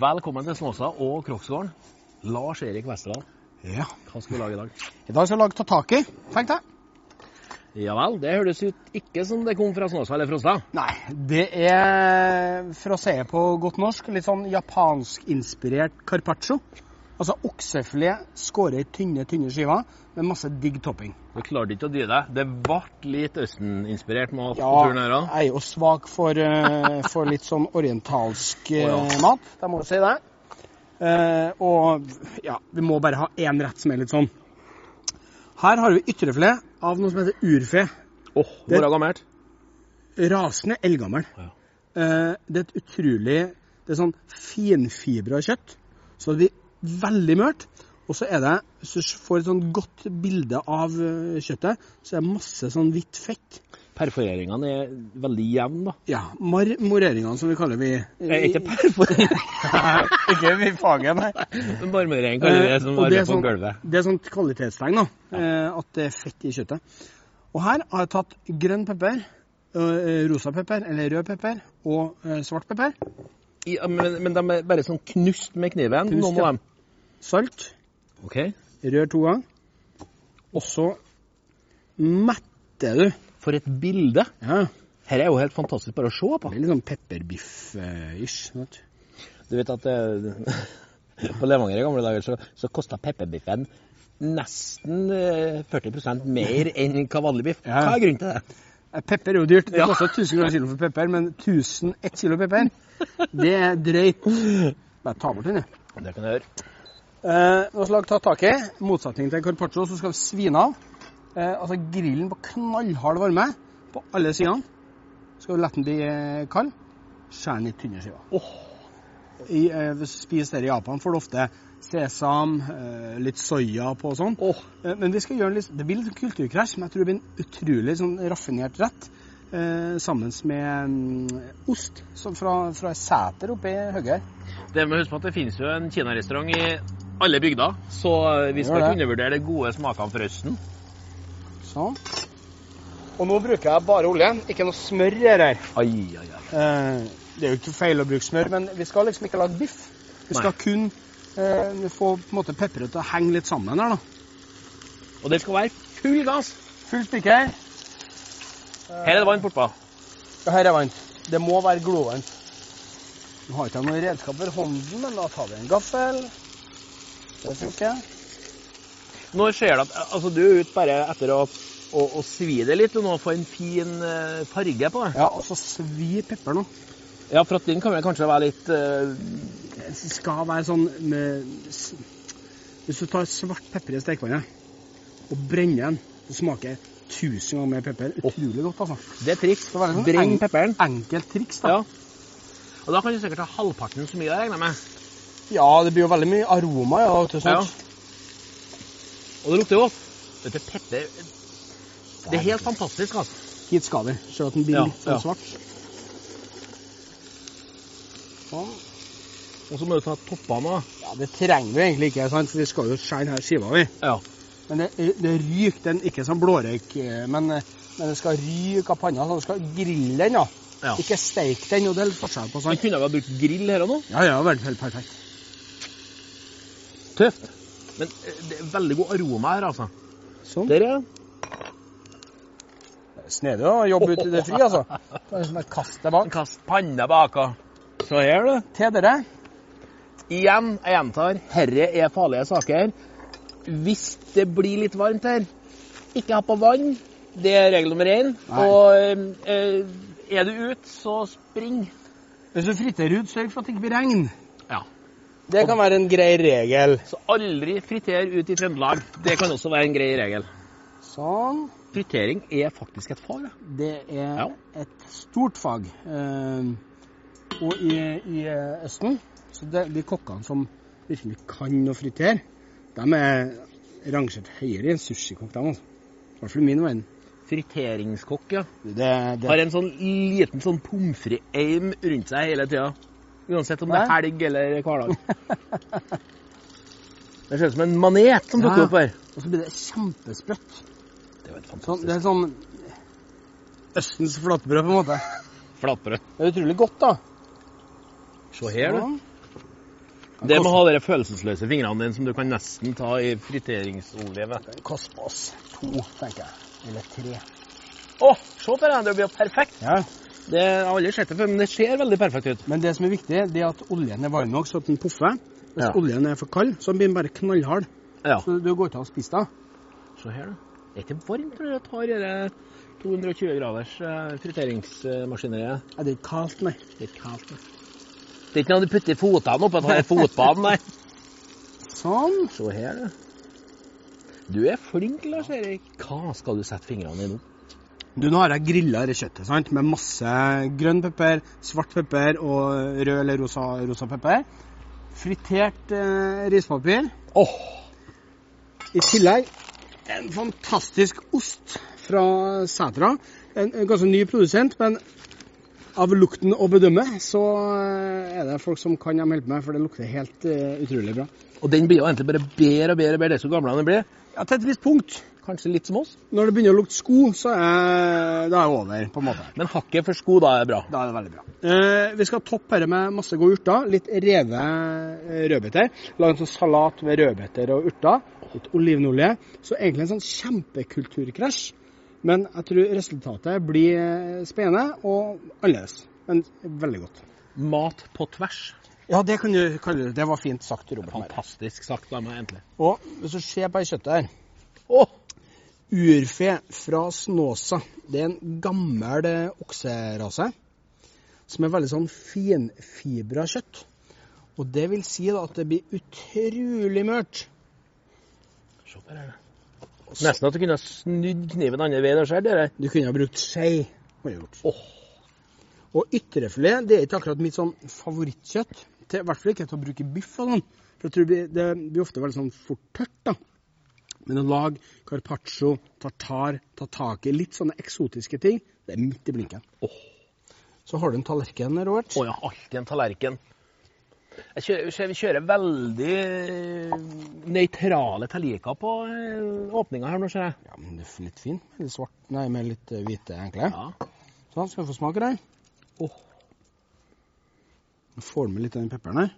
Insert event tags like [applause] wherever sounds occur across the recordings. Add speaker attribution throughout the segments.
Speaker 1: Velkommen til Snåsa og Kroksgården. Lars Erik Vesterålen,
Speaker 2: Ja.
Speaker 1: hva skal vi lage i dag?
Speaker 2: I dag skal vi lage tataki, tenkte jeg.
Speaker 1: Ja vel, det høres ut ikke som det kom fra Snåsa eller Frosta.
Speaker 2: Nei, det er, for å si det på godt norsk, litt sånn japanskinspirert carpaccio. Altså oksefilet skåret i tynne, tynne skiver med masse digg topping.
Speaker 1: Du klarte ikke å dy deg. Det ble litt Østen-inspirert mat på
Speaker 2: jeg
Speaker 1: turen her òg.
Speaker 2: er jo svak for, eh, for litt sånn orientalsk eh,
Speaker 1: Å, ja.
Speaker 2: mat. Da må du si det. Eh, og ja, vi må bare ha én rett som er litt sånn. Her har vi ytrefilet av noe som heter urfe.
Speaker 1: Åh, hvor er gammelt?
Speaker 2: rasende eldgammel.
Speaker 1: Ja.
Speaker 2: Eh, det er et utrolig Det er sånn finfibra kjøtt. Så det blir veldig mørt. Og så er det, hvis du får et sånn godt bilde av eh, kjøttet, så er det masse sånn hvitt fett.
Speaker 1: Perforeringene er veldig jevne, da.
Speaker 2: Ja, marmoreringene som vi kaller vi
Speaker 1: Er
Speaker 2: [laughs]
Speaker 1: ikke [laughs] perforering,
Speaker 2: Ikke vi faget, nei.
Speaker 1: men marmorering kaller vi det som
Speaker 2: Eh, og
Speaker 1: arbeider på
Speaker 2: sånn,
Speaker 1: gulvet.
Speaker 2: Det er sånn kvalitetstegn, da. eh, At det er fett i kjøttet. Og her har jeg tatt grønn pepper, eh, rosa pepper, eller rød pepper, og eh, svart pepper.
Speaker 1: Ja, eh, men, men de er bare sånn knust med kniven,
Speaker 2: Knust,
Speaker 1: noen
Speaker 2: ja.
Speaker 1: av dem.
Speaker 2: Salt.
Speaker 1: Ok.
Speaker 2: Rør to ganger. Og så metter du.
Speaker 1: For et bilde!
Speaker 2: Ja,
Speaker 1: Her er jo helt fantastisk bare å se på.
Speaker 2: det er litt sånn pepperbiff-ish. sant?
Speaker 1: Du vet at eh, [laughs] på Levanger i gamle dager så, så kosta pepperbiffen nesten eh, 40 mer enn hva vanlig biff.
Speaker 2: Ja.
Speaker 1: Hva er grunnen til det?
Speaker 2: Eh, Pepper er jo dyrt. Det
Speaker 1: Ja.
Speaker 2: koster 1000 kroner kilo for pepper, men 1001 kilo pepper, det er drøyt. Bare ta bort den, jeg.
Speaker 1: Det kan jeg høre.
Speaker 2: Eh, nå skal vi ta tak i. I motsetning til carpaccio så skal vi svine av. Eh, altså grillen på knallhard varme på alle sidene. Skal vi la den bli eh, kald. Skjær den i tynne skiver. I, eh, hvis du spiser det i Japan, får du ofte sesam, eh, litt soya på og sånn.
Speaker 1: Åh,
Speaker 2: Eh, men vi skal gjøre en litt, det blir litt kulturkrasj, men jeg tror det blir en utrolig sånn, raffinert rett. Eh, sammen med mm, ost som fra, fra Sæter oppe i Høgøy.
Speaker 1: Det med å huske på at det finnes jo en kinarestaurant i alle bygder, så eh, vi skal
Speaker 2: Gjør det.
Speaker 1: ikke undervurdere de gode smakene fra Østen.
Speaker 2: Sånn. Og nå bruker jeg bare oljen, ikke noe smør i det her.
Speaker 1: Ai, ai, ai.
Speaker 2: Eh, det er jo ikke feil å bruke smør, men vi skal liksom ikke lage biff. Vi skal
Speaker 1: Nei.
Speaker 2: kun eh, få på en måte pepperet til å henge litt sammen her, da.
Speaker 1: Og det skal være full gass. Eh,
Speaker 2: Full spiker.
Speaker 1: Her er det vann bortpå.
Speaker 2: Det her er varmt. Det må være glovarmt. Nå har ikke jeg noe redskap for hånden, men da tar vi en gaffel. Det funker.
Speaker 1: Når skjer det at Altså, du er ute bare etter å, å, å svi det litt og nå få en fin eh, farge på det.
Speaker 2: Ja, og så svir pepper nå.
Speaker 1: Ja, for at den kan vel kanskje være litt eh,
Speaker 2: Det skal være sånn med s- Hvis du tar svart pepper i stekepannet og brenner den, så smaker det tusen ganger mer pepper. Utrolig godt, altså.
Speaker 1: Det er triks.
Speaker 2: Det var liksom
Speaker 1: Breng
Speaker 2: en-
Speaker 1: pepperen.
Speaker 2: Enkelt triks, da.
Speaker 1: Ja. Og da kan du sikkert ha halvparten så mye, regner jeg med.
Speaker 2: Ja, det blir jo veldig mye aroma ja, til
Speaker 1: Ja.
Speaker 2: sånt.
Speaker 1: Og det lukter jo godt. Vet du, pepper Det er helt fantastisk, altså.
Speaker 2: Hit skal vi. Se at den blir
Speaker 1: Ja,
Speaker 2: litt sånn
Speaker 1: ja.
Speaker 2: svart. Sånn.
Speaker 1: Og så må du ta toppene òg.
Speaker 2: Ja, det trenger vi egentlig ikke, sant? for vi skal jo skjære denne skiva, vi.
Speaker 1: Ja.
Speaker 2: Men det, det ryker den, ikke som blårøyk, eh, men, eh, men det skal ryke av panna. Så du skal grille den, da.
Speaker 1: Ja.
Speaker 2: Ikke steike den, og det er litt forskjell på
Speaker 1: Man
Speaker 2: sånn.
Speaker 1: kunne vi ha brukt grill her og nå.
Speaker 2: Ja, ja, veldig, helt perfekt.
Speaker 1: Tøft. Men eh, det er veldig god aroma her, altså.
Speaker 2: Sånn.
Speaker 1: Der, ja.
Speaker 2: Snedig å jobbe ute i det fri, [laughs] altså. Det er som et kast det bak.
Speaker 1: Kast panna baka. Så her, du.
Speaker 2: Til dere.
Speaker 1: Igjen, jeg gjentar, herre er farlige saker. Hvis det blir litt varmt her, ikke ha på vann. Det er regel nummer én.
Speaker 2: Nei.
Speaker 1: Og eh, er du ute, så spring.
Speaker 2: Hvis du friter ut, sørg for at det ikke blir regn.
Speaker 1: Ja.
Speaker 2: Det kan være en grei regel.
Speaker 1: Så aldri friter ut i Trøndelag. Det kan også være en grei regel.
Speaker 2: Sånn.
Speaker 1: Fritering er faktisk et fag. da.
Speaker 2: Det er
Speaker 1: Ja.
Speaker 2: et stort fag. Eh, og i, i eh, Østen, så det, de kokkene som virkelig kan å fritere, de er rangert høyere enn sushikokk, de altså. I hvert fall i min verden.
Speaker 1: Friteringskokk, ja.
Speaker 2: Det, det,
Speaker 1: Har en sånn liten sånn pommes frites-aim rundt seg hele tida. Uansett om det er
Speaker 2: Nei.
Speaker 1: helg eller hverdag. [laughs] Det ser ut som en manet som dukker
Speaker 2: Ja.
Speaker 1: opp her.
Speaker 2: Og så blir det kjempesprøtt.
Speaker 1: Det er jo et
Speaker 2: Sånn,
Speaker 1: fantastisk
Speaker 2: det er sånn Østens flatbrød, på en måte.
Speaker 1: flatbrød.
Speaker 2: Det er utrolig godt, da.
Speaker 1: Se her, du.
Speaker 2: Sånn.
Speaker 1: Det må ha de følelsesløse fingrene dine som du kan nesten ta i friteringsolje med.
Speaker 2: Den koster oss to, tenker jeg. Eller tre.
Speaker 1: Å, se på det! Det blir jo perfekt.
Speaker 2: Ja.
Speaker 1: Det jeg har aldri sett det før, men det ser veldig perfekt ut.
Speaker 2: Men det som er viktig, det er at oljen er varm nok, så at den poffer. Hvis
Speaker 1: Ja.
Speaker 2: oljen er for kald, så blir den bare knallhard.
Speaker 1: Ja.
Speaker 2: Så du går til å spise den.
Speaker 1: Se her, da. Det er ikke varmt når du tar dette 220 graders eh, friteringsmaskineriet.
Speaker 2: Er det ikke kaldt, nei?
Speaker 1: Det er ikke kaldt, det. Det er ikke noe du putter fotene oppå at har fotbanen, nei.
Speaker 2: Sånn.
Speaker 1: [laughs] Se her, du. Du er flink, Lars Erik. Hva skal du sette fingrene i nå?
Speaker 2: Du, nå har jeg grilla det kjøttet sant? med masse grønn pepper, svart pepper og rød eller rosa, rosa pepper. Fritert eh, rispapir.
Speaker 1: Åh,
Speaker 2: I tillegg en fantastisk ost fra Sætra. En, en ganske ny produsent, men av lukten å bedømme, så eh, er det folk som kan dem hjelpe meg, for det lukter helt eh, utrolig bra.
Speaker 1: Og den blir jo egentlig bare bedre og bedre og bedre desto gamlere den blir.
Speaker 2: Ja, Til et visst punkt.
Speaker 1: Kanskje litt som oss.
Speaker 2: Når det begynner å lukte sko, så er da er det over, på en måte.
Speaker 1: Men hakket for sko, da er bra.
Speaker 2: Da er det veldig bra. Eh, vi skal toppe dette med masse gode urter. Litt reve eh, rødbeter. Lag en sånn salat med rødbeter og urter. Litt olivenolje. Så egentlig en sånn kjempekulturkrasj. Men jeg tror resultatet blir eh, spennende og annerledes. Men veldig godt.
Speaker 1: Mat på tvers.
Speaker 2: Ja, det kan du kalle det. Det var fint sagt, Robert.
Speaker 1: Fantastisk sagt av meg, egentlig.
Speaker 2: Og hvis du ser på det kjøttet her
Speaker 1: Åh,
Speaker 2: Urfe fra Snåsa. Det er en gammel eh, okserase som er veldig sånn finfibra kjøtt. Og det vil si da at det blir utrolig mørt.
Speaker 1: se på det her. da. Nesten at du kunne ha snudd kniven andre veien og skjært det der.
Speaker 2: Du kunne ha brukt skei. kunne du gjort.
Speaker 1: Åh.
Speaker 2: Og ytrefilet det er ikke akkurat mitt sånn favorittkjøtt. Til, I hvert fall ikke til å bruke biff og sånn. For jeg tror det blir- det blir ofte veldig sånn fort tørt, da. Men å lage carpaccio, tartar, tatake, litt sånne eksotiske ting, det er midt i blinken.
Speaker 1: Åh.
Speaker 2: Så har du en tallerken, Robert.
Speaker 1: Å ja, alltid en tallerken. Jeg kjører, ser vi kjører veldig eh, nøytrale tallerkener på eh, åpninga her nå, ser jeg.
Speaker 2: Ja, men det er litt fin. med Litt svart, nei, med litt eh, hvite enkle.
Speaker 1: Ja.
Speaker 2: Sånn, skal vi få smake den?
Speaker 1: Åh.
Speaker 2: Jeg får med litt av den pepperen her.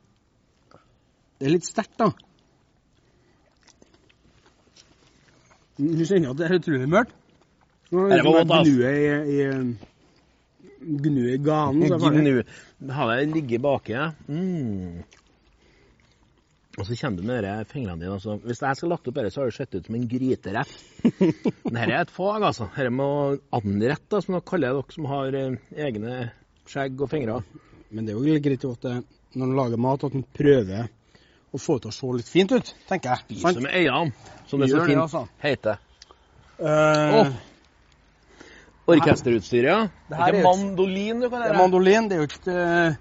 Speaker 2: Det er litt sterkt, da. Du kjenner at det er utrolig mørkt. Nå er
Speaker 1: Dette var
Speaker 2: det
Speaker 1: godt, ass.
Speaker 2: gnue i, i Gnue i ganen. så er det ferdig.
Speaker 1: Gnu. Har jeg ligget baki. ja. Mm. Og så kjenner du med dere fingrene dine. Altså. Hvis jeg skal lagt opp dette, så har det sett ut som en gryterett. Men dette er et fag, altså. Dette må anrette, som dere kaller dere som har eh, egne skjegg og fingre.
Speaker 2: [laughs] Men det er jo litt greit at det, når man lager mat, at man prøver å få det til å se litt fint ut, tenker jeg.
Speaker 1: Spis det med øynene, som det så
Speaker 2: Gjør det,
Speaker 1: fint
Speaker 2: altså.
Speaker 1: heter.
Speaker 2: Eh,
Speaker 1: Åh. Orkesterutstyret, ja.
Speaker 2: Det
Speaker 1: Det
Speaker 2: her
Speaker 1: er
Speaker 2: er
Speaker 1: ikke
Speaker 2: jo-
Speaker 1: mandolin du kan
Speaker 2: Det er
Speaker 1: lære.
Speaker 2: mandolin. Det er jo ikke, det er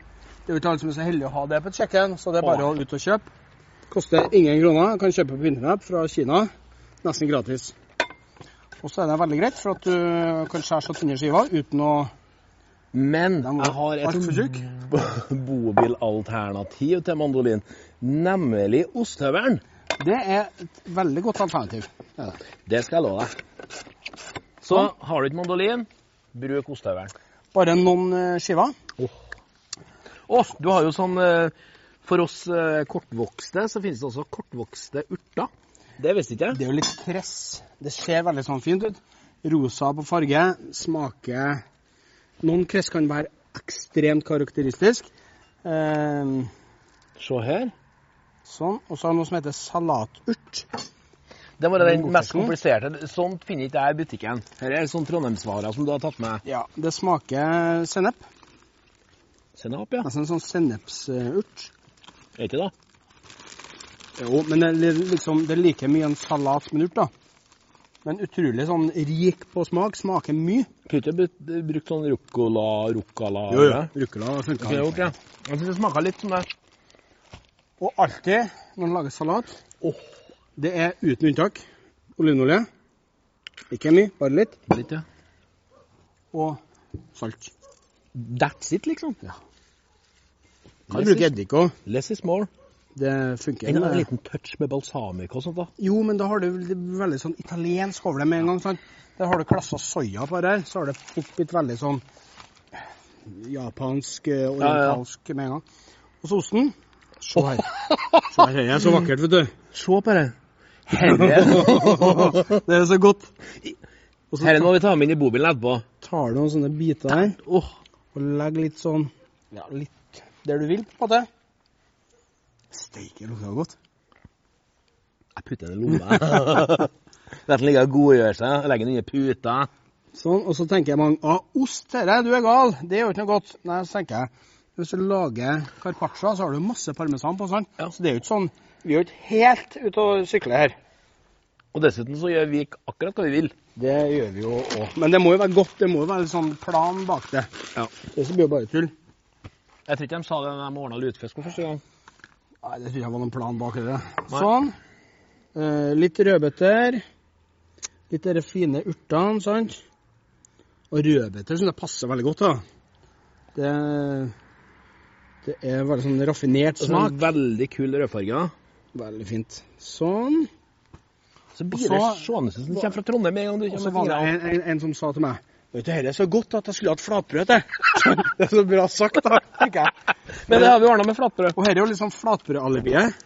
Speaker 2: jo ikke alle som er så heldige å ha det på et kjøkken, så det er bare å ut og kjøpe. Koster ingen kroner. Kan kjøpe på internett fra Kina. Nesten gratis. Og så er det veldig greit, for at du kan skjære så tynne skiver uten å
Speaker 1: Men
Speaker 2: Den var
Speaker 1: jeg har
Speaker 2: alt for tjukk.
Speaker 1: et [laughs] bobilalternativ til mandolin, nemlig ostehøvelen.
Speaker 2: Det er et veldig godt alternativ.
Speaker 1: Det skal jeg love deg. Så har du ikke mandolin, bruk ostehøvelen.
Speaker 2: Bare noen eh, skiver.
Speaker 1: Å, du har jo sånn eh, For oss eh, kortvokste, så finnes det også kortvokste urter. Det visste ikke jeg.
Speaker 2: Det er jo litt kress. Det ser veldig sånn fint ut. Rosa på farge. Smaker Noen kress kan være ekstremt karakteristisk. Eh,
Speaker 1: Se her.
Speaker 2: sånn. Og så har vi noe som heter salaturt.
Speaker 1: Det var den
Speaker 2: Den
Speaker 1: mest
Speaker 2: bortesten.
Speaker 1: kompliserte. Sånt finner ikke jeg i butikken. Her er sånn trondheimsvarer som du har tatt med.
Speaker 2: Ja, det smaker sennep.
Speaker 1: Sennep, ja.
Speaker 2: Nesten sånn sennepsurt.
Speaker 1: Er ikke det?
Speaker 2: Jo, men det er li- liksom, det er like mye en salat som en urt, da. Men utrolig sånn rik på smak. Smaker mye.
Speaker 1: Kunne ikke bru- brukt sånn ruccola, ruccala
Speaker 2: Rucola
Speaker 1: Det
Speaker 2: funker.
Speaker 1: kunne jeg gjort, ja. Jeg synes det smaker litt som det.
Speaker 2: Og alltid når man lager salat,
Speaker 1: Åh.
Speaker 2: det er uten unntak olivenolje, Ikke mye, bare litt.
Speaker 1: Litt, ja.
Speaker 2: Og salt.
Speaker 1: That's it, liksom.
Speaker 2: Ja. Kan
Speaker 1: Less,
Speaker 2: bruke
Speaker 1: is,
Speaker 2: eddik òg.
Speaker 1: less is more.
Speaker 2: Det funker.
Speaker 1: En,
Speaker 2: med-
Speaker 1: en liten touch med balsamico og sånt, [laughs] da.
Speaker 2: Jo, men da har du vel- det er veldig sånn italiensk over det med en gang. sant? Der har du klassa soya på det her, så har det fort blitt veldig sånn japansk, eh, orientalsk med en gang. Og så osten. Se her. Se her, det er så vakkert, vet du.
Speaker 1: Se på det. Herre.
Speaker 2: [laughs] Det er så godt. Og så
Speaker 1: Herre må vi ta med inn i bobilen etterpå.
Speaker 2: tar du noen sånne biter her
Speaker 1: Åh,
Speaker 2: og legger litt sånn Ja, litt der du vil, på en måte. Steike, det lukter godt.
Speaker 1: jeg putter den i [laughs] lomma. Dette ligger og godgjør seg. Legger den under puta.
Speaker 2: Sånn, og så tenker jeg mange Å, ost, herre, du er gal! Det er jo ikke noe godt. Nei, så tenker jeg Hvis du lager carpaccia, så har du masse parmesan på, sånn.
Speaker 1: Ja.
Speaker 2: Så det er jo ikke sånn Vi er jo ikke helt ute å sykle her.
Speaker 1: Og dessuten så gjør vi akkurat hva vi vil.
Speaker 2: Det gjør vi jo òg. Men det må jo være godt. Det må jo være sånn plan bak det.
Speaker 1: Ja.
Speaker 2: Det blir jo bare tull.
Speaker 1: Jeg tror ikke de sa det da de ordna lutefisk for første gang.
Speaker 2: Nei, det tror jeg var noen plan bak det.
Speaker 1: Nei.
Speaker 2: Sånn. Eh, litt rødbeter. Litt de fine urtene, sant. Og rødbeter syns jeg passer veldig godt, da. Det, det er veldig sånn raffinert
Speaker 1: Smak.
Speaker 2: smak.
Speaker 1: Veldig kul rødfarge.
Speaker 2: Veldig fint. Sånn.
Speaker 1: Så blir det
Speaker 2: Og så-
Speaker 1: seende som den kommer fra Trondheim med en gang du
Speaker 2: Og
Speaker 1: kommer
Speaker 2: så
Speaker 1: med
Speaker 2: var det
Speaker 1: fingrene.
Speaker 2: en, en, en som sa til meg Vet du, dette er så godt at jeg skulle hatt flatbrød til. det er så bra sagt, da. tenker jeg.
Speaker 1: Men det har vi ordna med flatbrød.
Speaker 2: Og her er jo liksom flatbrødalibiet.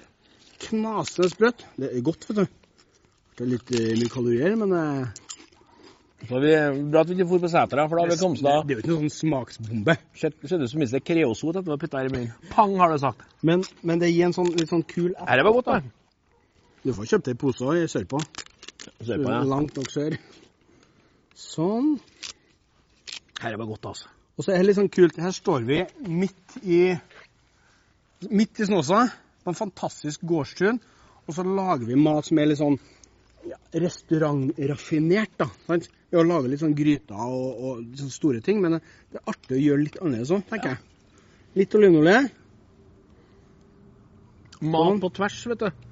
Speaker 2: Knasende sprøtt. Det er godt, vet du. Det er litt eh, mye kalorier, men eh,
Speaker 1: Så vi, bra at vi ikke dro på setra, for da har vi kommet oss da.
Speaker 2: Det er jo ikke noen sånn smaksbombe.
Speaker 1: Sett- Ser ut som minst det er kreosot etter å ha putta her i munnen. Pang, har du sagt.
Speaker 2: Men, men det gir en sånn litt sånn kul app.
Speaker 1: Dette var godt, da.
Speaker 2: Du får kjøpt det i pose også i sørpå.
Speaker 1: Se på det.
Speaker 2: Langt nok sør. Sånn.
Speaker 1: Dette var godt, altså.
Speaker 2: Og så er det litt sånn kult. Her står vi midt i midt i Snåsa, på en fantastisk gårdstun. Og så lager vi mat som er litt sånn ja, restaurantraffinert, da. Sant? Ved å lage litt sånn gryter og, og sånne store ting. Men det er artig å gjøre litt annerledes òg, tenker jeg. Litt olivenolje.
Speaker 1: Mat på tvers, vet du.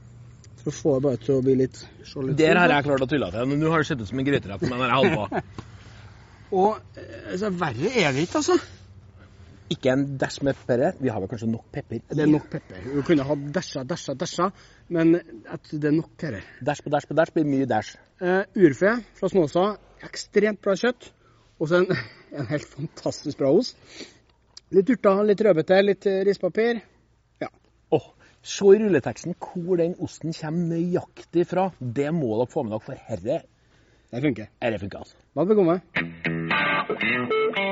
Speaker 2: For å få det bare til å bli litt se litt
Speaker 1: Der
Speaker 2: ut,
Speaker 1: har
Speaker 2: da.
Speaker 1: jeg klart å tulle til. men Nå har det sett ut som en gryterett, men den har jeg holdt på.
Speaker 2: Og eh, altså, verre er det ikke, altså.
Speaker 1: [laughs] Ikke en dash med pepper. Vi har vel kanskje nok pepper? i.
Speaker 2: Det er nok pepper. Du kunne ha dæsja, dæsja, dæsja, men at det er nok her.
Speaker 1: Dash på dash på dash blir mye dash.
Speaker 2: Eh, urfe fra Snåsa. Ekstremt bra kjøtt. Og så en, [laughs] en helt fantastisk bra ost. Litt urter, litt rødbeter, litt eh, rispapir.
Speaker 1: Åh, Se i rulleteksten hvor den osten kommer nøyaktig fra. Det må dere få med dere, for herre,
Speaker 2: Det funker.
Speaker 1: herre funker, altså.
Speaker 2: Vel bekomme.